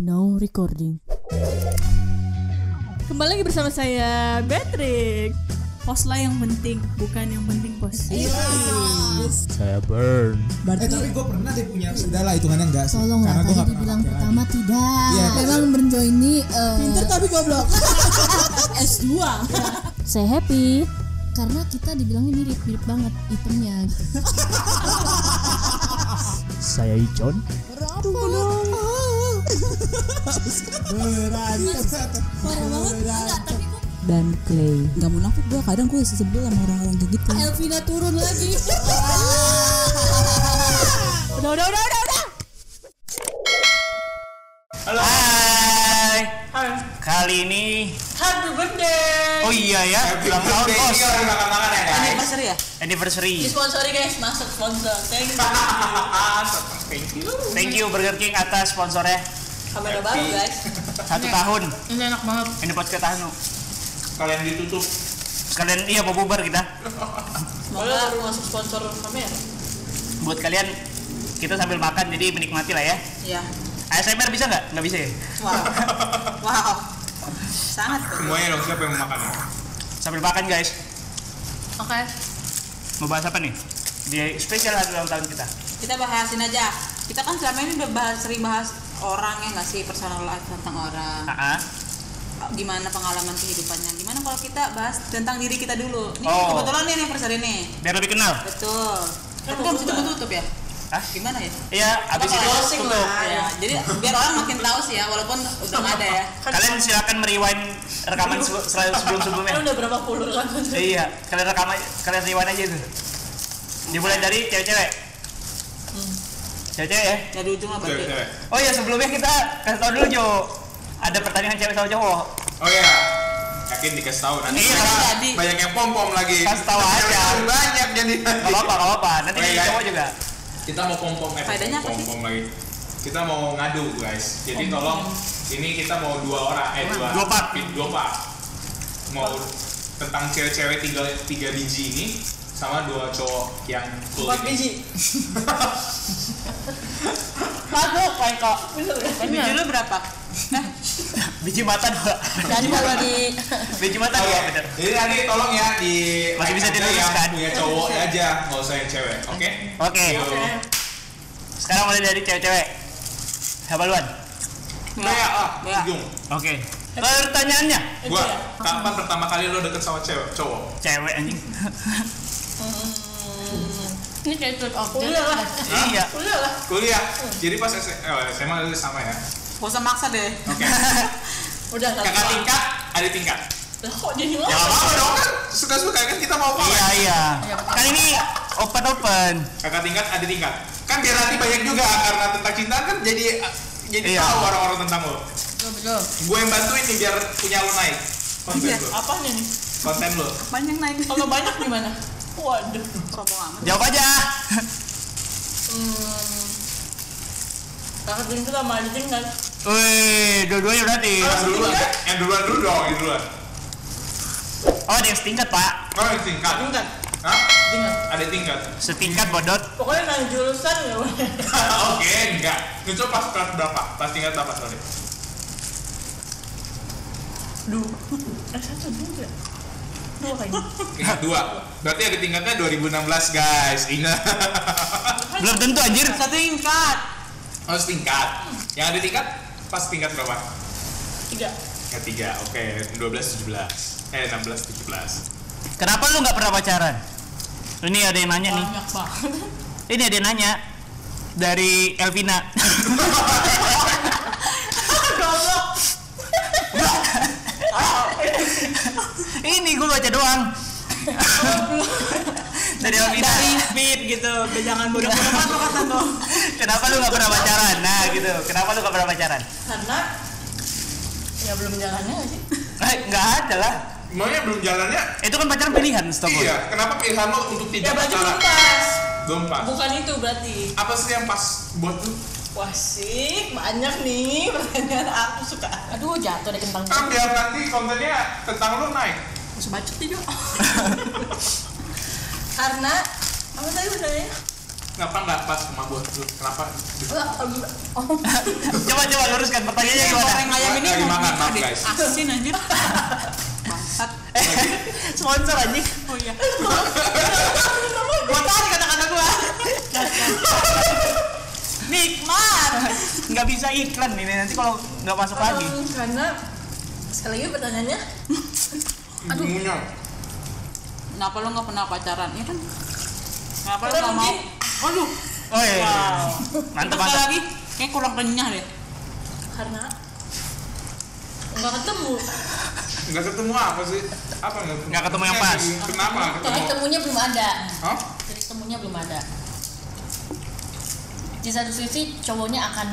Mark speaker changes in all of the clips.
Speaker 1: No recording.
Speaker 2: Kembali lagi bersama saya Patrick. Pos lah yang penting, bukan yang penting pos.
Speaker 3: Saya burn.
Speaker 4: Eh
Speaker 1: Berarti
Speaker 4: tapi gue pernah deh punya Sudahlah hitungannya enggak sih
Speaker 1: tolong lah
Speaker 4: Karena gue
Speaker 1: tadi
Speaker 4: gak pernah
Speaker 1: dibilang
Speaker 4: pakai
Speaker 1: pertama tidak.
Speaker 4: Iya.
Speaker 1: Memang Brenjo ini eh,
Speaker 2: tapi goblok. S2.
Speaker 1: saya happy karena kita dibilangnya mirip-mirip banget itemnya gitu.
Speaker 3: Saya Icon.
Speaker 5: parah banget enggak tapi gue
Speaker 1: dan Clay.
Speaker 5: nggak munafik gue kadang gue sebel sama orang-orang kayak gitu
Speaker 1: Elvina turun lagi.
Speaker 2: Udah, udah, udah, udah, udah.
Speaker 6: Hai. Kali ini
Speaker 2: Happy birthday.
Speaker 6: Oh iya ya, ulang tahun bos.
Speaker 5: anniversary ya
Speaker 6: Anniversary.
Speaker 5: sponsori guys masuk sponsor thank you
Speaker 6: Thank you Burger King atas sponsornya
Speaker 5: kamera baru guys
Speaker 6: satu tahun. Ini enak banget. Ini podcast tahun.
Speaker 7: kalian ditutup
Speaker 6: Kalian iya mau bubar kita.
Speaker 5: semoga baru masuk sponsor kamera
Speaker 6: Buat kalian kita sambil makan jadi menikmati lah ya.
Speaker 5: ya
Speaker 6: ASMR bisa nggak? Nggak bisa ya.
Speaker 5: wow wow sangat
Speaker 7: semuanya dong siapa yang mau makan
Speaker 6: Sambil makan guys.
Speaker 5: oke
Speaker 6: Mau bahas apa nih? Di spesial hari ulang tahun kita.
Speaker 5: kita bahasin aja kita kan selama ini udah bahas sering bahas orang ya nggak sih personal life tentang orang
Speaker 6: Ah, ah.
Speaker 5: gimana pengalaman kehidupannya gimana kalau kita bahas tentang diri kita dulu ini
Speaker 6: Oh.
Speaker 5: kebetulan nih anniversary nih
Speaker 6: Biar lebih kenal.
Speaker 5: betul tapi kan mesti tutup-tutup ya
Speaker 6: Hah?
Speaker 5: gimana ya
Speaker 6: Iya, abis
Speaker 5: Apa
Speaker 6: itu
Speaker 5: lah,
Speaker 6: tutup.
Speaker 2: Iya.
Speaker 5: ya. Jadi biar orang makin tahu sih ya, walaupun udah nggak ada ya.
Speaker 6: Kan Kalian silakan merewind rekaman se- sebelum sebelumnya.
Speaker 2: udah berapa puluh kan?
Speaker 6: Iya, kalian rekam aja, kalian rewind aja itu. Dimulai dari cewek-cewek.
Speaker 2: Hmm.
Speaker 6: Cewek-cewek ya.
Speaker 5: Dari ujung lah berarti.
Speaker 7: cewek-cewek
Speaker 6: Oh iya, sebelumnya kita kasih tau dulu Jo. Ada pertandingan cewek sama cowok.
Speaker 7: oh ya yakin dikasih tahu nanti
Speaker 6: Iya,
Speaker 7: banyak-
Speaker 5: kan jadi.
Speaker 7: banyak yang pom pom lagi
Speaker 6: Kasih tahu aja.
Speaker 7: Yang banyak jadi
Speaker 6: Gak apa-apa, gak apa-apa. Nanti
Speaker 7: Oh,
Speaker 6: dari
Speaker 7: iya.
Speaker 6: cowok juga.
Speaker 7: kita mau pom pom eh
Speaker 5: Faedahnya apa
Speaker 7: pom
Speaker 5: sih?
Speaker 7: pom lagi kita mau ngadu guys jadi tolong ini kita mau dua orang eh dua
Speaker 6: Dua part.
Speaker 7: dua part mau tentang cewek-cewek tiga tiga biji ini sama dua cowok yang cool
Speaker 2: Empat
Speaker 7: ini.
Speaker 2: biji. Mabuk, Pak Eko.
Speaker 5: Biji lu berapa? Eh,
Speaker 6: Biji mata dua.
Speaker 5: dan kalau di
Speaker 6: Biji mata
Speaker 7: Oke,
Speaker 6: dua, Iya, bener.
Speaker 7: Jadi nanti tolong ya di
Speaker 6: Masih bisa
Speaker 7: aja
Speaker 6: diluruskan.
Speaker 7: yang punya cowok ya, aja, nggak usah yang cewek, oke?
Speaker 6: Oke.
Speaker 7: Yuk.
Speaker 6: Sekarang mulai dari cewek-cewek. Siapa duluan?
Speaker 7: Kayak ah,
Speaker 5: Bea.
Speaker 7: ujung.
Speaker 6: Oke. Pertanyaannya,
Speaker 7: Gua kapan pertama kali lo deket sama cewek cowok?
Speaker 6: cewek anjing.
Speaker 5: Hmm.
Speaker 2: Ini kayak tweet objek. Udah lah.
Speaker 6: iya.
Speaker 2: Udah lah.
Speaker 7: Kuliah. Jadi pas S- eh, SMA itu sama ya.
Speaker 5: Gak usah maksa deh.
Speaker 7: Oke.
Speaker 2: Udah
Speaker 7: Kakak tingkat, ada tingkat.
Speaker 2: Lah, Kok jadi
Speaker 7: Ya
Speaker 2: lo?
Speaker 7: nggak apa-apa dong kan suka-suka kan kita mau apa?
Speaker 6: Iya,
Speaker 7: kan?
Speaker 6: iya. Kan ini open open.
Speaker 7: Kakak tingkat, ada tingkat. Kan biar nanti banyak juga karena tentang cinta kan jadi jadi
Speaker 6: Iya.
Speaker 7: tahu orang-orang tentang lo. Gue yang bantuin nih biar punya lo naik. Konten
Speaker 5: Iya.
Speaker 7: lo.
Speaker 2: Apanya nih?
Speaker 7: Konten lo.
Speaker 5: Banyak naik.
Speaker 2: Kalau banyak gimana? Waduh.
Speaker 5: Sombong amat.
Speaker 6: Jawab aja.
Speaker 2: Hmm. Kakak tingkat sama kan? adik tingkat.
Speaker 6: Wih, dua-duanya berarti.
Speaker 7: Yang duluan, yang duluan dulu dong, yang duluan.
Speaker 6: Oh, ada yang setingkat, Pak.
Speaker 7: Kalau yang tingkat,
Speaker 2: Tingkat.
Speaker 7: Hah?
Speaker 2: Tingkat.
Speaker 7: Ada tingkat.
Speaker 6: Setingkat bodot.
Speaker 2: Pokoknya nanya jurusan ya. boleh.
Speaker 7: Oke, enggak. Itu pas kelas berapa? Pas tingkat berapa sorry?
Speaker 2: Duh. Eh, satu dua. Dua kayaknya.
Speaker 7: Tingkat dua. Berarti ada tingkatnya 2016 guys. Ingat.
Speaker 6: Belum tentu anjir.
Speaker 5: Satu tingkat.
Speaker 7: Harus tingkat. Yang ada tingkat pas tingkat berapa?
Speaker 2: Tiga.
Speaker 7: Tingkat tiga. Oke, 12 17. Eh 16 17.
Speaker 6: Kenapa lu nggak pernah pacaran? Ini ada yang nanya nih.
Speaker 2: Banyak banget.
Speaker 6: Ini ada yang nanya dari Elvina.
Speaker 2: Goblok.
Speaker 6: Ini gue baca doang. dari Elvina.
Speaker 5: Dari fit gitu. Jangan bodoh-bodoh amat lo kata lo.
Speaker 6: Kenapa lu nggak pernah pacaran? Nah, gitu. Kenapa lu nggak pernah pacaran?
Speaker 2: Karena ya belum jalannya nggak sih.
Speaker 6: Eh, nggak ada lah.
Speaker 7: Maunya belum jalannya?
Speaker 6: Itu kan pacaran pilihan, stop.
Speaker 7: Iya. Kenapa pilihan lo untuk
Speaker 2: Ya
Speaker 7: tidak
Speaker 2: baju belum
Speaker 7: pacaran?
Speaker 2: pas.
Speaker 7: Belum pas.
Speaker 2: Bukan itu berarti.
Speaker 7: Apa sih yang pas buat lu?
Speaker 2: Wah sih, banyak nih pertanyaan aku suka. Aduh jatuh deh kentang.
Speaker 7: Kan biar nanti kontennya tentang lu naik.
Speaker 2: Bisa bacot nih Jo. Karena apa tadi pertanyaannya?
Speaker 7: Kenapa nggak pas sama gue? Kenapa?
Speaker 6: Coba coba luruskan pertanyaannya
Speaker 5: goreng
Speaker 6: gimana?
Speaker 5: ayam ini
Speaker 7: Lagi
Speaker 5: mau
Speaker 7: makan,
Speaker 5: buka
Speaker 7: maaf
Speaker 5: deh.
Speaker 7: guys.
Speaker 5: Asin anjir. Bangsat.
Speaker 6: Sponsor anjing.
Speaker 5: Oh iya.
Speaker 6: Gua tarik kata-kata gua.
Speaker 5: Nikmat.
Speaker 6: Nggak bisa iklan ini nanti kalau nggak masuk lagi.
Speaker 2: karena sekali lagi pertanyaannya
Speaker 7: Aduh. Munyong.
Speaker 5: Kenapa lo nggak pernah pacaran? Ya kan. Kenapa lo
Speaker 2: Karena
Speaker 5: nggak mau?
Speaker 2: mungkin-
Speaker 5: Waduh.
Speaker 6: Oh iya.
Speaker 5: Wow.
Speaker 6: Mantap
Speaker 5: Bentar
Speaker 6: mantap.
Speaker 5: lagi. Kayak kurang kenyah deh.
Speaker 2: karena nggak ketemu
Speaker 7: Nggak ketemu apa sih? Apa nggak ketemu?
Speaker 6: Nggak ketemu yang pas.
Speaker 7: Kenapa nggak
Speaker 2: jadi
Speaker 7: ketemu?
Speaker 2: temunya belum ada
Speaker 7: Hah?
Speaker 2: jadi temunya belum ada di satu sisi cowoknya akan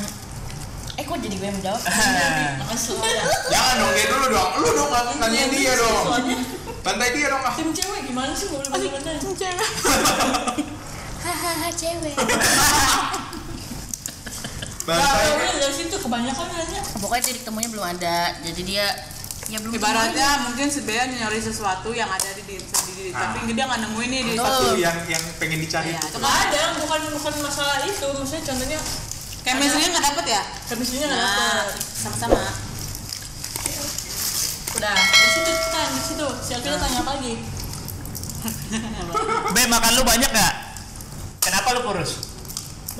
Speaker 2: eh kok jadi gue yang menjawab akan selalu ada
Speaker 7: Jangan dong, dia dulu dong. Lu dong, aku Iya. tanya dia dong.
Speaker 2: soalnya
Speaker 7: Tantai dia dong. ah.
Speaker 2: tim cewek gimana sih gue belum bertanya hahaha cewek
Speaker 7: Tantai.
Speaker 2: dari situ kebanyakan nanya pokoknya titik temunya belum ada jadi dia ya belum
Speaker 5: Ibaratnya mungkin sebenarnya nyari sesuatu yang ada di diri sendiri,
Speaker 7: Ah.
Speaker 5: tapi dia nggak nemuin nih di
Speaker 7: Satu yang yang pengen dicari.
Speaker 5: Iya, itu
Speaker 2: nggak ada bukan bukan masalah itu maksudnya contohnya
Speaker 5: chemistry-nya nggak dapet ya?
Speaker 2: chemistry-nya nggak
Speaker 5: Nah,
Speaker 2: dapet
Speaker 5: sama-sama.
Speaker 2: udah dari situ kan dari situ si Akil tanya apa lagi
Speaker 6: Be makan lu banyak nggak? Kenapa lu kurus?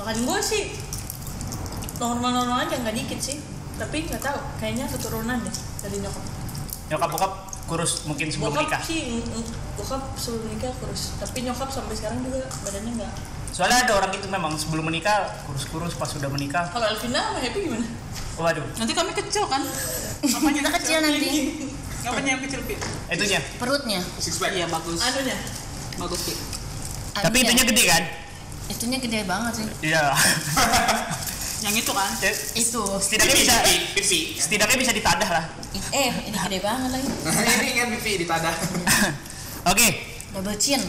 Speaker 2: makan gue sih normal normal aja nggak dikit sih tapi nggak tahu kayaknya keturunan deh dari nyokap
Speaker 6: Nyokap bokap kurus mungkin sebelum
Speaker 2: bokap
Speaker 6: nikah.
Speaker 2: sih mm, mm, bokap sebelum nikah kurus tapi nyokap sampai sekarang juga badannya nggak
Speaker 6: Soalnya ada orang itu memang sebelum menikah kurus-kurus pas sudah menikah.
Speaker 2: kalau Elvina sama Happy gimana
Speaker 6: Waduh,
Speaker 5: Nanti kami kecil kan?
Speaker 2: kita kecil nanti
Speaker 5: Ngapain yang kecil, Pi?
Speaker 6: itunya.
Speaker 8: Iya.
Speaker 2: perutnya
Speaker 7: Six pack.
Speaker 5: Iya, bagus.
Speaker 2: anunya
Speaker 5: Bagus, Pi.
Speaker 6: Tapi itunya gede kan?
Speaker 2: itunya gede banget sih
Speaker 6: Iya.
Speaker 5: Yang itu kan?
Speaker 6: Ya,
Speaker 2: itu
Speaker 6: setidaknya bisa
Speaker 7: Pipi.
Speaker 6: setidaknya bisa ditadah lah.
Speaker 2: eh ini gede banget lagi
Speaker 7: Ini kan pipi ditadah.
Speaker 6: Oke,
Speaker 2: double chin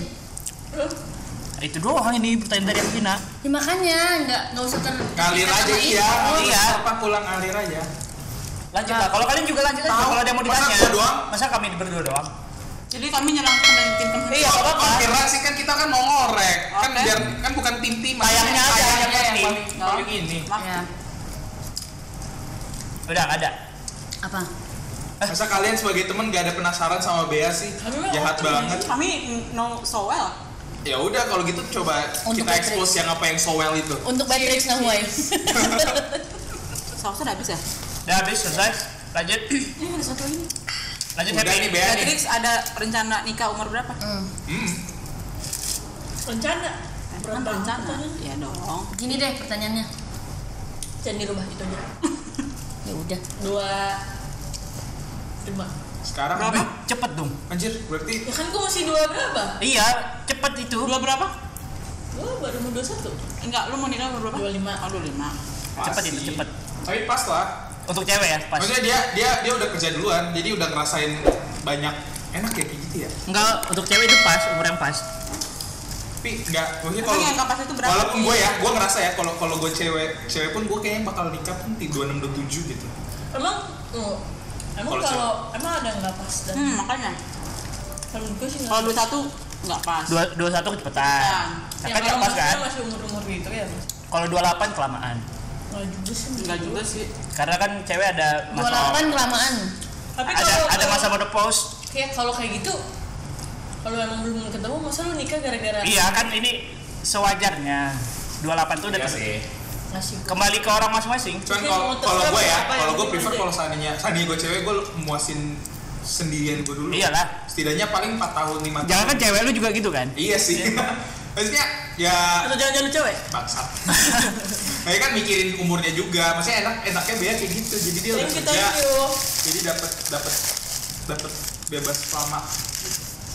Speaker 6: Nah, itu doang ini pertanyaan dari Vina.
Speaker 2: ya makanya nggak nggak usah ter
Speaker 7: Ngalir aja iya.
Speaker 6: Iya.
Speaker 7: Apa pulang ngalir aja.
Speaker 6: Lanjut lah. Kalau kalian juga lanjut aja
Speaker 7: Tahu.
Speaker 6: kalau ada yang mau
Speaker 7: Masa
Speaker 6: ditanya.
Speaker 7: gua doang?
Speaker 6: Masa kami berdua doang?
Speaker 5: Jadi kami nyerang teman tim teman.
Speaker 6: Iya,
Speaker 7: Kalau
Speaker 6: enggak apa-apa.
Speaker 7: konspirasi kan kita kan mau ngorek. Kan
Speaker 5: Oke.
Speaker 7: biar kan bukan tim-tim.
Speaker 6: Sayangnya aja yang
Speaker 7: Sayangnya yang
Speaker 6: penting.
Speaker 7: paling- paling ini.
Speaker 2: Iya.
Speaker 5: Maaf.
Speaker 8: Ya.
Speaker 6: Udah nggak ada.
Speaker 2: apa
Speaker 7: Masa kalian sebagai temen gak ada penasaran sama Bea sih? Jahat
Speaker 5: Iya,
Speaker 7: banget.
Speaker 5: Kami know so well.
Speaker 7: Ya udah kalau gitu coba
Speaker 2: Untuk Oh,
Speaker 7: kita expose yang apa yang sowel itu.
Speaker 2: untuk Patrick sama
Speaker 5: Sausnya udah habis ya?
Speaker 6: Udah habis selesai. Lanjut.
Speaker 5: Ini ada satu ini.
Speaker 6: Lanjut
Speaker 7: Udah nih
Speaker 6: happy.
Speaker 7: Bea Iya, nih.
Speaker 5: Beatrix ada rencana nikah umur berapa?
Speaker 7: Hmm.
Speaker 2: rencana Eh,
Speaker 5: Kan rencana. Iya dong.
Speaker 2: gini deh pertanyaannya jangan dirubah itu aja ya udah dua lima
Speaker 7: Sekarang eh,
Speaker 6: Berapa? Cepet dong.
Speaker 7: Anjir, berarti
Speaker 2: ya kan gue masih dua berapa
Speaker 6: Iya, cepet itu.
Speaker 5: Dua berapa?
Speaker 2: gue baru mau dua satu
Speaker 5: Enggak, lu mau nikah umur berapa?
Speaker 2: 25.
Speaker 5: Oh, 25.
Speaker 7: pas
Speaker 6: Cepet
Speaker 7: sih.
Speaker 6: itu, cepet.
Speaker 7: Tapi pas lah.
Speaker 6: Untuk cewek ya, pas.
Speaker 7: Maksudnya dia dia dia udah kerja duluan, jadi udah ngerasain banyak enak ya kayak gitu ya.
Speaker 6: Enggak, untuk cewek itu pas, umur yang pas.
Speaker 7: tapi nggak maksudnya
Speaker 5: Emang
Speaker 7: kalau
Speaker 5: yang kapas itu berapa?
Speaker 7: walaupun gue ya gue ngerasa ya kalau kalau gue cewek cewek pun gue kayaknya bakal nikah pun di dua enam dua tujuh gitu
Speaker 2: emang oh, emang
Speaker 7: Kalau
Speaker 2: kalau emang ada nggak pas dan
Speaker 5: Hmm, makanya.
Speaker 2: kalau gue sih nggak
Speaker 5: Kalau dua satu nggak pas.
Speaker 6: Dua, dua satu kecepetan.
Speaker 2: Ya,
Speaker 6: Kan nggak
Speaker 2: kalau
Speaker 6: pas kan?
Speaker 2: maksudnya masih umur umur gitu ya mas
Speaker 6: Kalau 28 kelamaan.
Speaker 2: nggak juga sih
Speaker 5: Enggak juga sih.
Speaker 6: Karena kan cewek ada masa
Speaker 2: kelamaan tapi
Speaker 6: ada
Speaker 2: kalau
Speaker 6: ada
Speaker 2: kalau-
Speaker 6: masa mode post.
Speaker 2: kayak kalau kayak gitu kalau emang belum ketemu masa lu nikah gara-gara
Speaker 6: Iya kan ini sewajarnya 28 tuh udah
Speaker 7: Iya
Speaker 6: ke-
Speaker 7: sih.
Speaker 2: ngasih gue
Speaker 6: kembali ke orang masing-masing.
Speaker 7: cuman
Speaker 2: Mungkin
Speaker 7: kalau
Speaker 2: mau
Speaker 7: kalau
Speaker 2: terserah
Speaker 7: gue ya
Speaker 2: apa yang
Speaker 7: kalau gue
Speaker 2: penting
Speaker 7: prefer
Speaker 2: aja.
Speaker 7: kalau seandainya seandainya gue cewek gue muasin sendirian gue dulu
Speaker 6: Iyalah.
Speaker 7: setidaknya paling 4 tahun lima
Speaker 6: Jangan kan
Speaker 7: tahun
Speaker 6: cewek lu juga gitu kan?
Speaker 7: iya sih maksudnya ya
Speaker 2: atau jangan-jangan lu cewek
Speaker 7: bangsat Nah, kan mikirin umurnya juga, maksudnya enak enaknya bea kayak gitu, jadi dia udah
Speaker 2: Sering kita
Speaker 6: Iya.
Speaker 7: kerja,
Speaker 2: yuk
Speaker 7: jadi dapat dapat dapat bebas lama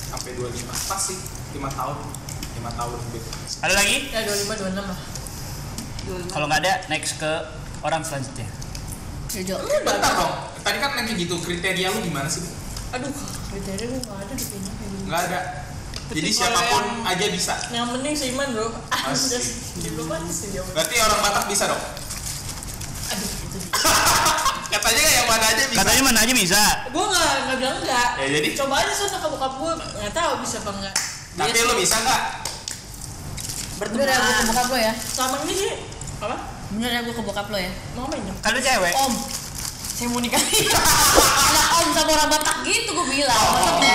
Speaker 7: sampai 25 pas sih 5 tahun 5 tahun gitu
Speaker 6: Ada lagi?
Speaker 2: ya 25, 26 lah
Speaker 6: Kalau nggak ada, next ke orang selanjutnya.
Speaker 2: Jojo lu
Speaker 7: bentar dong tadi kan nanti gitu kriteria lu gimana sih
Speaker 2: Aduh, kriteria gue gak ada di kayaknya kayak gitu. gini.
Speaker 7: nggak ada jadi
Speaker 5: Tapi kalau
Speaker 7: siapapun aja bisa
Speaker 2: Yang penting seiman bro
Speaker 7: Asik.
Speaker 2: Anjas, diplomat sih jauh
Speaker 7: berarti orang Batak bisa dong
Speaker 2: Aduh, itu dia
Speaker 7: katanya kan yang mana aja bisa
Speaker 6: Katanya mana aja bisa.
Speaker 2: Gue gak, gak bilang enggak
Speaker 7: Ya, jadi?
Speaker 2: Coba aja sana ke bokap gue Gak tau bisa apa enggak
Speaker 7: tapi lu bisa nggak
Speaker 8: Bener ya gue ke
Speaker 5: berteman
Speaker 8: bokap lo ya
Speaker 2: Selama ini sih apa?
Speaker 8: Bener ya gue ke bokap lo ya Mau main dong
Speaker 6: Kan lu cewek.
Speaker 8: Om Saya mau nikah Lah om sama orang Batak gitu gue bilang Masa gue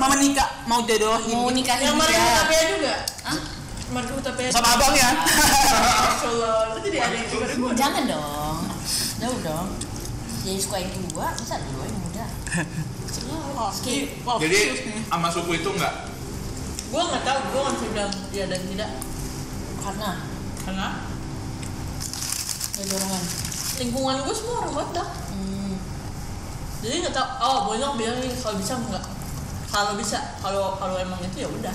Speaker 5: mau menikah mau jodohin
Speaker 8: Mau nikahin
Speaker 2: Yang Mario
Speaker 8: dia
Speaker 2: Hutapea juga.
Speaker 8: Hah?
Speaker 2: Mario Hutapea.
Speaker 6: Sama abang ya.
Speaker 2: Solo. Lu jadi aneh juga deh gua.
Speaker 8: Jangan dong Jauh dong Jadi suka yang tua Masa lu yang muda
Speaker 5: Ih, wow,
Speaker 7: Jadi
Speaker 5: serius nih.
Speaker 7: sama suku itu enggak
Speaker 8: Gue gak tau Gue gak bisa bilang
Speaker 2: iya
Speaker 8: ya dan tidak Karena
Speaker 5: karena
Speaker 8: Ya dorongan
Speaker 2: Lingkungan gue semua orang Batak.
Speaker 8: Hmm
Speaker 2: Jadi nggak tau. Oh, Bonyok bilang ini kalau bisa enggak. Kalau bisa, kalau kalau emang itu ya udah.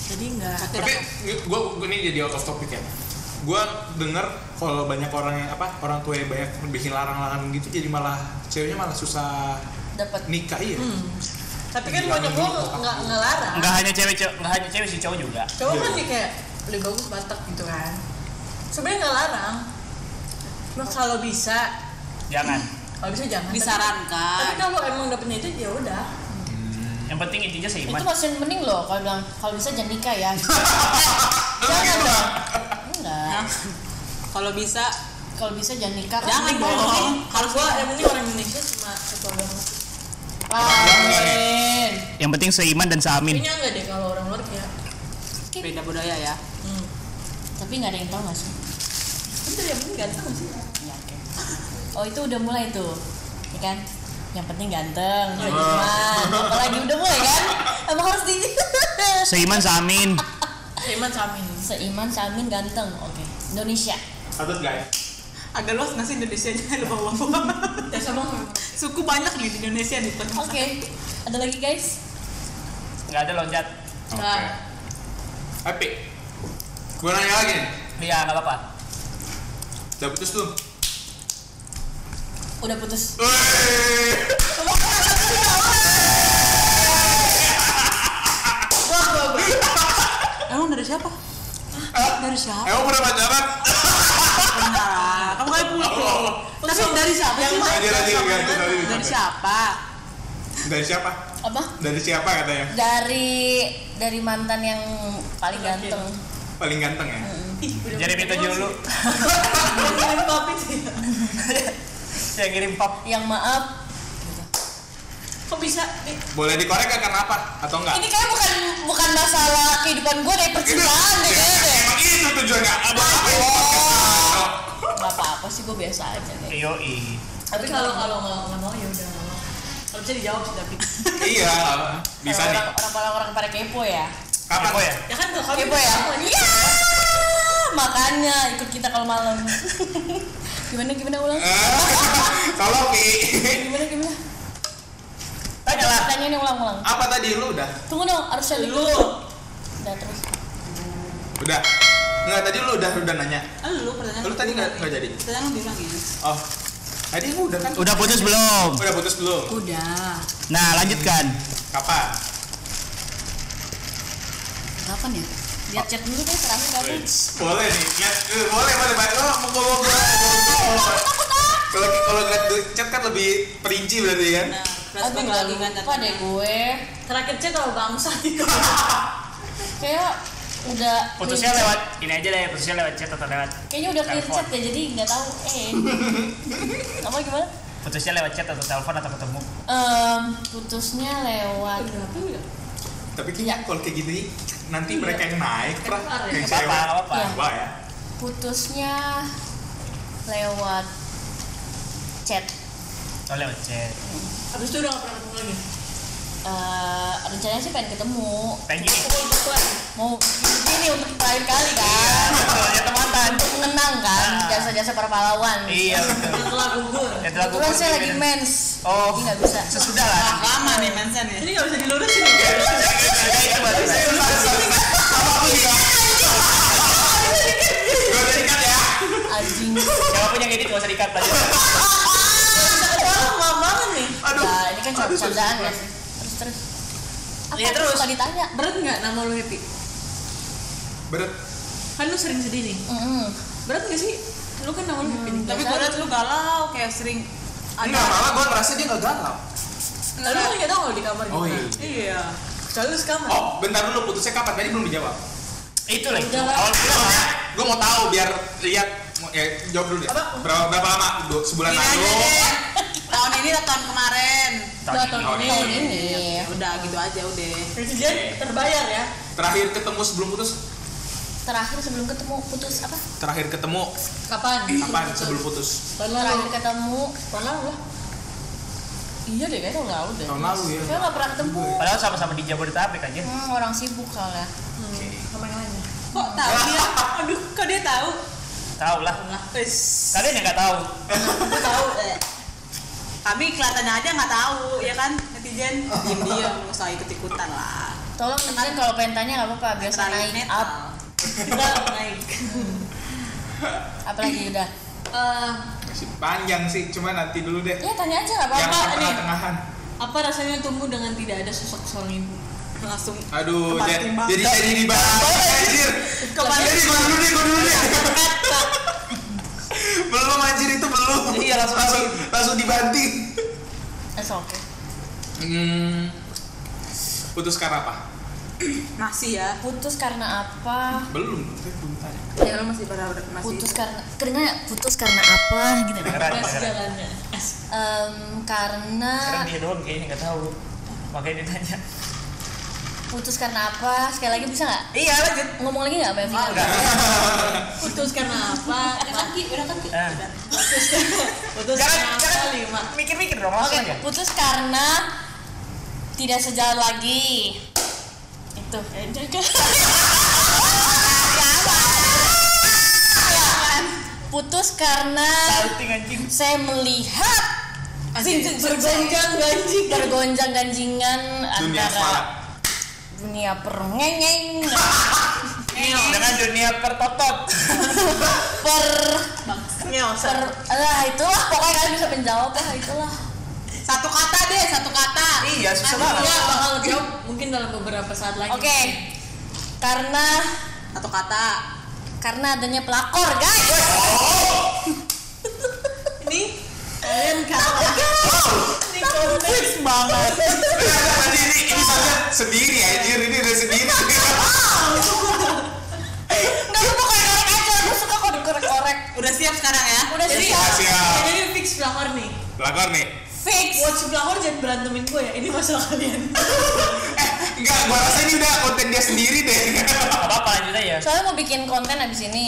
Speaker 2: Jadi enggak.
Speaker 7: tapi gue gue ini jadi out of topic ya gue denger kalau banyak orang yang apa orang tua yang banyak bikin larang-larang gitu jadi malah ceweknya malah susah
Speaker 8: Dapat
Speaker 7: nikah iya
Speaker 2: Tapi kan Bonyok gue nggak ngelarang.
Speaker 6: Enggak hanya cewek, cewek- enggak hanya cewek sih cowok juga.
Speaker 2: Coba kan sih kayak lebih bagus Batak gitu kan. Sebenarnya nggak larang. Cuma kalau bisa,
Speaker 6: Jangan.
Speaker 2: kalau bisa jangan. Tapi
Speaker 5: disarankan
Speaker 2: kalau emang dapetnya itu ya udah.
Speaker 6: Yang penting intinya seiman.
Speaker 8: Itu masih mending loh kalau bilang kalau bisa jangan nikah ya. jangan dong. Enggak.
Speaker 5: Nah, kalau bisa
Speaker 8: Kalau bisa jangan nikah. kan
Speaker 5: jangan
Speaker 8: mending
Speaker 5: bohong
Speaker 2: Kalau gua yang penting orang Indonesia cuma itu doang.
Speaker 8: Amin.
Speaker 6: Yang penting seiman dan seamin.
Speaker 2: Kayaknya enggak deh kalau orang luar kayak
Speaker 5: beda budaya ya
Speaker 2: hmm.
Speaker 8: Tapi nggak ada yang tahu nggak sih?
Speaker 2: Bentar yang penting ganteng sih.
Speaker 8: Iya, oke. Oh itu udah mulai tuh, ya kan? Yang penting ganteng,
Speaker 2: iya.
Speaker 8: cuman apalagi udah mulai kan? Emang harus di
Speaker 6: Seiman seamin.
Speaker 2: Iman Samin.
Speaker 8: seiman, samin, ganteng. Oke, Indonesia.
Speaker 7: Atau guys
Speaker 5: agak luas nggak sih Indonesia nya lu bawa
Speaker 2: Ya sama
Speaker 5: suku banyak nih di Indonesia nih
Speaker 8: Oke, ada lagi guys?
Speaker 6: Enggak ada loncat.
Speaker 7: Oke.
Speaker 2: Nah.
Speaker 7: Happy. Gue nanya lagi nih.
Speaker 6: Iya, enggak apa-apa.
Speaker 7: Udah putus tuh.
Speaker 8: Udah putus.
Speaker 5: emang dari siapa Hah? dari siapa
Speaker 7: Emang pernah pacaran?
Speaker 5: Bentar, kamu kan putus tapi dari siapa sih Mas?
Speaker 7: Lanjut, lanjut, lanjut, lanjut.
Speaker 5: dari siapa
Speaker 7: Dari siapa?
Speaker 8: Apa?
Speaker 7: Dari siapa katanya?
Speaker 8: Dari dari mantan yang paling ganteng.
Speaker 7: Paling ganteng ya?
Speaker 6: Jadi minta dulu.
Speaker 2: Ini papi sih.
Speaker 6: ya? Saya ngirim pop.
Speaker 8: Yang maaf. gitu.
Speaker 2: Kok bisa? Ih,
Speaker 7: Boleh dikorek gak karena apa? Atau enggak?
Speaker 8: Ini kayak bukan bukan masalah kehidupan gue dari percintaan deh kayaknya deh.
Speaker 7: Ya, Emang itu tujuannya apa? apa
Speaker 5: Oh.
Speaker 8: Gak apa-apa sih gue biasa aja deh.
Speaker 6: Yoi.
Speaker 2: Tapi kalau kalau nggak nggak mau ya udah nggak mau. Kalau bisa dijawab sih tapi.
Speaker 7: iya, bisa nih.
Speaker 8: orang, orang orang orang pada kepo ya.
Speaker 7: Kapan?
Speaker 6: Apa ya?
Speaker 2: Ya kan kalau
Speaker 8: Kepo ya. Iya. Makanya ikut kita kalau malam. gimana gimana ulang?
Speaker 7: Eh, Tolong Pi.
Speaker 8: Gimana gimana?
Speaker 6: Tanya lah.
Speaker 8: Pertanyaan yang ulang-ulang.
Speaker 7: Apa tadi lu udah?
Speaker 8: Tunggu dong, harus saya
Speaker 2: Lu.
Speaker 8: Udah terus.
Speaker 7: Udah. Enggak, tadi lu udah udah nanya.
Speaker 5: Ah, lu pertanyaan
Speaker 7: Lu tadi nggak- nggak jadi?
Speaker 5: pertanyaan lu bilang ya? Nah, gini
Speaker 7: Oh. Tadi lu udah kan?
Speaker 6: Udah putus belum?
Speaker 7: Udah putus belum?
Speaker 5: udah
Speaker 6: Nah, lanjutkan.
Speaker 7: Kapan?
Speaker 5: kapan ya
Speaker 8: Lihat chat dulu deh terakhir kamu.
Speaker 7: boleh nih lihat eh, boleh boleh boleh oh mau ngomong ngomong, ngomong, ngomong. kalau kalau lihat di chat kan lebih perinci berarti kan
Speaker 5: nah flashback
Speaker 8: Aduh,
Speaker 5: lagi kan
Speaker 8: lupa deh gue.
Speaker 2: terakhir chat kalau bangsa gitu.
Speaker 8: Kayak udah
Speaker 6: Putusnya lewat ini aja deh, putusnya lewat chat atau lewat
Speaker 8: Iya. Kayaknya udah clear
Speaker 6: Telepon.
Speaker 8: chat ya, jadi nggak tahu. Eh, apa gimana?
Speaker 6: putusnya lewat chat atau telepon atau ketemu.
Speaker 8: Em, putusnya lewat.
Speaker 2: Berapa ya?
Speaker 7: tapi kayaknya kalau kayak gini nanti mereka yang naik pra
Speaker 2: Keluar ya?
Speaker 7: yang
Speaker 6: Gak apa-apa,
Speaker 7: cewek
Speaker 6: gak apa-apa.
Speaker 8: Iya.
Speaker 7: wah ya
Speaker 8: Putusnya lewat chat.
Speaker 6: Oh, lewat chat.
Speaker 2: Habis itu udah nggak pernah ketemu lagi.
Speaker 8: Eh, rencananya sih pengen ketemu.
Speaker 6: Thank you.
Speaker 2: Pukul pukulan.
Speaker 8: Mau ini untuk terakhir kali
Speaker 6: Iya,
Speaker 7: Iya.
Speaker 8: kan?
Speaker 6: Soalnya teman
Speaker 8: Untuk mengenang kan
Speaker 6: Ah.
Speaker 8: jasa-jasa para pahlawan.
Speaker 6: Iya, betul.
Speaker 2: Yang telah gugur.
Speaker 6: Ya, telah
Speaker 8: Kebetulan
Speaker 6: gugur
Speaker 8: saya
Speaker 6: nih,
Speaker 8: lagi
Speaker 6: bener.
Speaker 8: mens.
Speaker 6: Oh,
Speaker 8: Jadi nggak bisa.
Speaker 6: sesudah lah.
Speaker 5: lama nih mensen ya
Speaker 2: Ini nggak bisa dilurusin. ya?
Speaker 6: Ya, itu baru.
Speaker 8: Iya,
Speaker 7: gue tadi kan ya
Speaker 8: iya, Anjing.
Speaker 6: Siapa punya edit nggak usah dikat aja.
Speaker 2: Orang maaf banget nih.
Speaker 7: aduh
Speaker 8: Nah, ini kan cuma
Speaker 7: aduh,
Speaker 8: bercandaan
Speaker 7: aduh.
Speaker 5: ya.
Speaker 8: kan. Terus terus. Apa
Speaker 6: Iya, terus.
Speaker 8: suka ditanya?
Speaker 2: Berat nggak nama lu happy?
Speaker 7: berat
Speaker 2: Kan lu sering sedih nih.
Speaker 8: Mm-mm.
Speaker 2: Berat nggak sih? Lu kan nama lu happy nih.
Speaker 5: tapi gue liat lu galau kayak sering
Speaker 7: enggak malah gue ngerasa dia nggak galau
Speaker 2: Lalu kan nggak tahu kalau di kamar gitu.
Speaker 7: Oh, iya.
Speaker 5: iya
Speaker 2: Kecuali lu sekamar.
Speaker 7: oh bentar dulu putusnya kapan tadi belum dijawab
Speaker 6: Itu lagi. Oh,
Speaker 8: Udah lah.
Speaker 6: Awal bulan lah.
Speaker 7: Gue mau tahu biar lihat ya, jawab dulu deh.
Speaker 8: Apa?
Speaker 7: Berapa, berapa lama? Dua- sebulan
Speaker 5: Gini
Speaker 7: lalu.
Speaker 5: aja deh. tahun ini atau tahun kemarin?
Speaker 8: Udah
Speaker 7: Oh, iya.
Speaker 8: tahun ini.
Speaker 6: Tahun
Speaker 5: Ya udah gitu aja udah.
Speaker 8: Presiden terbayar ya.
Speaker 7: Terakhir ketemu sebelum putus.
Speaker 8: Terakhir sebelum ketemu putus apa?
Speaker 7: Terakhir ketemu
Speaker 2: Kapan?
Speaker 7: kapan sebelum putus?
Speaker 2: Tahun lalu.
Speaker 8: Terakhir ketemu
Speaker 2: Tahun lalu lah. Iya deh, kayaknya tahun lalu deh.
Speaker 7: Tahun lalu ya.
Speaker 8: saya nggak pernah ketemu.
Speaker 6: Padahal sama-sama di Jabodetabek aja.
Speaker 8: Hmm, orang sibuk soalnya. Sama yang lainnya.
Speaker 5: Kok tahu dia? Aduh, kok dia tahu?
Speaker 6: Tahu lah.
Speaker 5: Nah, wis.
Speaker 6: Kalian yang nggak tahu.
Speaker 5: Aku tahu. eh. Kami kelihatannya aja nggak tahu, ya kan netizen? Diam diam, nggak usah ikut ikutan lah.
Speaker 8: Tolong netizen kalau pengen tanya nggak apa-apa, biasa
Speaker 5: Terlalu
Speaker 8: naik
Speaker 5: netral.
Speaker 8: up.
Speaker 5: naik.
Speaker 8: Apalagi udah.
Speaker 7: Masih panjang sih, cuma nanti dulu deh.
Speaker 8: ya tanya aja nggak
Speaker 7: Yang
Speaker 8: apa-apa nih.
Speaker 7: pertengahan.
Speaker 2: Apa rasanya tumbuh dengan tidak ada sosok seorang ibu?
Speaker 5: Langsung
Speaker 7: Aduh,
Speaker 5: tempat
Speaker 7: jadi,
Speaker 5: timbang.
Speaker 7: jadi saya jadi bahas. Anjir.
Speaker 5: Kembali.
Speaker 7: Jadi gue dulu deh, gue dulu deh. belum anjir itu belum.
Speaker 6: Iya, langsung-
Speaker 7: langsung, langsung dibanting.
Speaker 8: That's okay.
Speaker 7: Hmm. Putus karena apa?
Speaker 5: masih ya.
Speaker 8: Putus karena apa?
Speaker 7: Belum, saya belum tanya.
Speaker 5: Ya lo masih pada masih.
Speaker 8: Putus karena kedengar nggak? putus karena apa gitu.
Speaker 6: Dengeran, dengeran.
Speaker 2: Jalannya.
Speaker 8: Em, karena
Speaker 6: Karena dia doang kayaknya nggak tahu. Makanya ditanya.
Speaker 8: putus karena apa? Sekali lagi bisa nggak?
Speaker 5: Iya lanjut.
Speaker 8: Ngomong lagi nggak Mbak Evi?
Speaker 6: Enggak.
Speaker 2: Putus karena apa? Udah kan Ki, udah kan Ki.
Speaker 6: Eh,
Speaker 2: Putus
Speaker 6: Jangan,
Speaker 2: karena
Speaker 6: jangan.
Speaker 2: apa lima?
Speaker 6: Mikir-mikir dong
Speaker 8: Oke,
Speaker 6: langsung aja.
Speaker 8: putus karena tidak sejalan lagi. Itu.
Speaker 2: Ya,
Speaker 8: Ya, putus karena
Speaker 6: Salting anjing.
Speaker 8: saya melihat
Speaker 5: Anjing,
Speaker 8: bergonjang ganjing bergonjang ganjingan
Speaker 7: Dunia asmara.
Speaker 8: antara dunia perngengeng
Speaker 6: Dengan dunia pertotot.
Speaker 8: per
Speaker 5: Ngeosan.
Speaker 8: per lah itulah pokoknya kalian bisa menjawab lah itulah
Speaker 5: Satu kata deh, satu kata.
Speaker 6: Iya, susah banget.
Speaker 2: Iya, bakal jawab mungkin dalam beberapa saat lagi.
Speaker 8: oke karena
Speaker 5: Satu kata.
Speaker 8: karena adanya pelakor guys
Speaker 5: Ini kalian kata. Ini kompleks banget.
Speaker 7: Tadi ini ini saja sendiri anjir, ini udah sendiri.
Speaker 8: nggak lu mau korek aja gue suka kalau dikorek-korek
Speaker 5: Udah siap sekarang ya?
Speaker 8: udah
Speaker 2: Jadi,
Speaker 8: siap
Speaker 7: Siap.
Speaker 2: jadi fix pelakor nih.
Speaker 7: Lakor nih.
Speaker 8: fix
Speaker 2: Watch pelakor jangan berantemin gue ya. Ini masalah kalian.
Speaker 7: Enggak, gua rasa ini udah konten dia sendiri deh.
Speaker 6: Gak apa-apa lanjut aja.
Speaker 8: soalnya mau bikin konten abis ini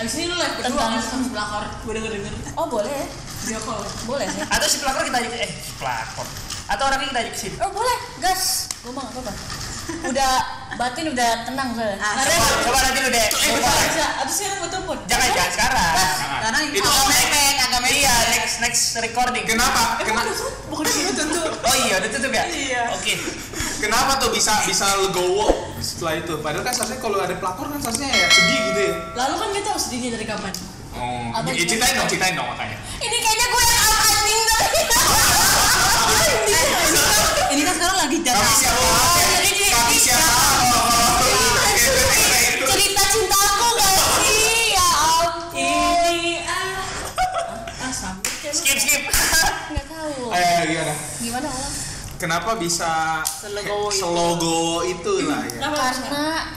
Speaker 2: Abis ini lu live berdua
Speaker 8: Tentang-
Speaker 2: kan sama pelakor. Gue denger denger.
Speaker 8: oh boleh ya?
Speaker 2: Dia call.
Speaker 8: boleh sih
Speaker 6: Atau si pelakor kita ajak eh si pelakor. Atau orangnya kita ajak ke sini.
Speaker 8: oh boleh gas gue mah nggak apa-apa udah batin udah tenang soalnya
Speaker 5: Asik.
Speaker 6: Coba, coba nanti lu deh. Coba.
Speaker 2: Bisa. Abis sekarang gue telepon.
Speaker 6: Jangan jangan sekarang.
Speaker 5: Karena ini
Speaker 6: Itu
Speaker 5: agak
Speaker 6: next-
Speaker 5: mepet, agak mepet.
Speaker 6: Iya, next next recording.
Speaker 7: Kenapa? Kena-
Speaker 2: Bukan itu tentu.
Speaker 6: Oh iya, udah tutup ya? Iya. Oke.
Speaker 7: kenapa tuh bisa bisa legowo setelah itu? Padahal kan seharusnya kalau ada pelakor kan seharusnya ya sedih gitu ya.
Speaker 2: Lalu kan kita harus sedihnya dari kapan?
Speaker 7: Oh, ya,
Speaker 8: Apa gimana?
Speaker 7: ceritain dong, ceritain dong makanya. kan
Speaker 8: ini kayaknya gue yang up anjing tadi
Speaker 5: Ini kan sekarang lagi iya, jatuh.
Speaker 7: Kami siap maaf ya.
Speaker 8: jadi dia-
Speaker 7: Kami siap maaf.
Speaker 8: cerita cintaku gak sih ya ampun
Speaker 2: Ah, sampai
Speaker 6: Skip skip.
Speaker 8: nggak tahu
Speaker 5: Iya,
Speaker 7: Eh, gimana?
Speaker 8: gimana ulang
Speaker 7: Kenapa bisa
Speaker 5: Selegowo itu.
Speaker 7: selogo itu lah ya?
Speaker 8: karena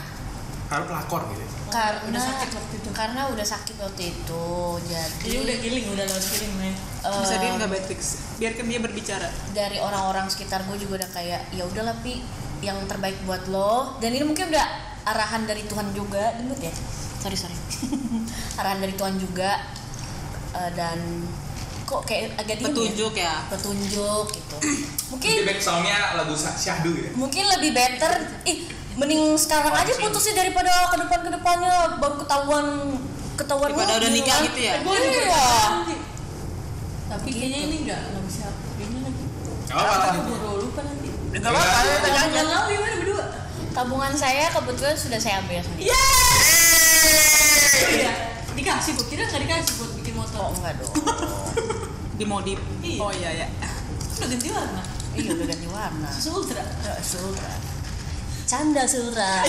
Speaker 7: Karena pelakor gitu.
Speaker 8: karena
Speaker 2: Udah sakit waktu itu.
Speaker 8: karena udah sakit waktu itu
Speaker 2: Jadi
Speaker 8: jadi
Speaker 2: udah healing, udah lewat healing men.
Speaker 8: eh,
Speaker 5: Bisa dia nggak bad fix. Biarkan dia berbicara.
Speaker 8: dari orang-orang sekitar gue juga udah kayak ya udahlah pi yang terbaik buat lo dan ini mungkin udah arahan dari Tuhan juga dengut ya sorry sorry arahan dari Tuhan juga Eh, dan kok kayak agak diem ya?
Speaker 5: Petunjuk ya.
Speaker 8: petunjuk gitu mungkin
Speaker 7: Itu back soundnya lagu Sa- syahdu gitu.
Speaker 8: mungkin lebih better ih mending sekarang aja putusnya daripada ke depan ke depannya baru ketahuan ketahuan
Speaker 5: Daripada
Speaker 8: lagi,
Speaker 5: udah nikah
Speaker 8: kan?
Speaker 5: gitu ya?
Speaker 8: Gua juga
Speaker 2: Nanti. Tapi kayaknya ini enggak, enggak bisa. Gimana?
Speaker 7: Gak apa-apa.
Speaker 2: Aku baru lupa nanti.
Speaker 6: Enggak apa-apa, lu tanya aja.
Speaker 2: Jangan lalu gimana berdua?
Speaker 8: tabungan saya kebetulan sudah saya ambil sendiri
Speaker 2: Iya. Dikasih gue kira nggak dikasih buat bikin
Speaker 8: oh
Speaker 2: motor.
Speaker 8: enggak dong
Speaker 5: Dimodif.
Speaker 2: Iya.
Speaker 5: Oh iya ya.
Speaker 2: Udah ganti warna.
Speaker 8: iya udah ganti warna
Speaker 2: Susu ultra.
Speaker 8: Sultra canda Sultra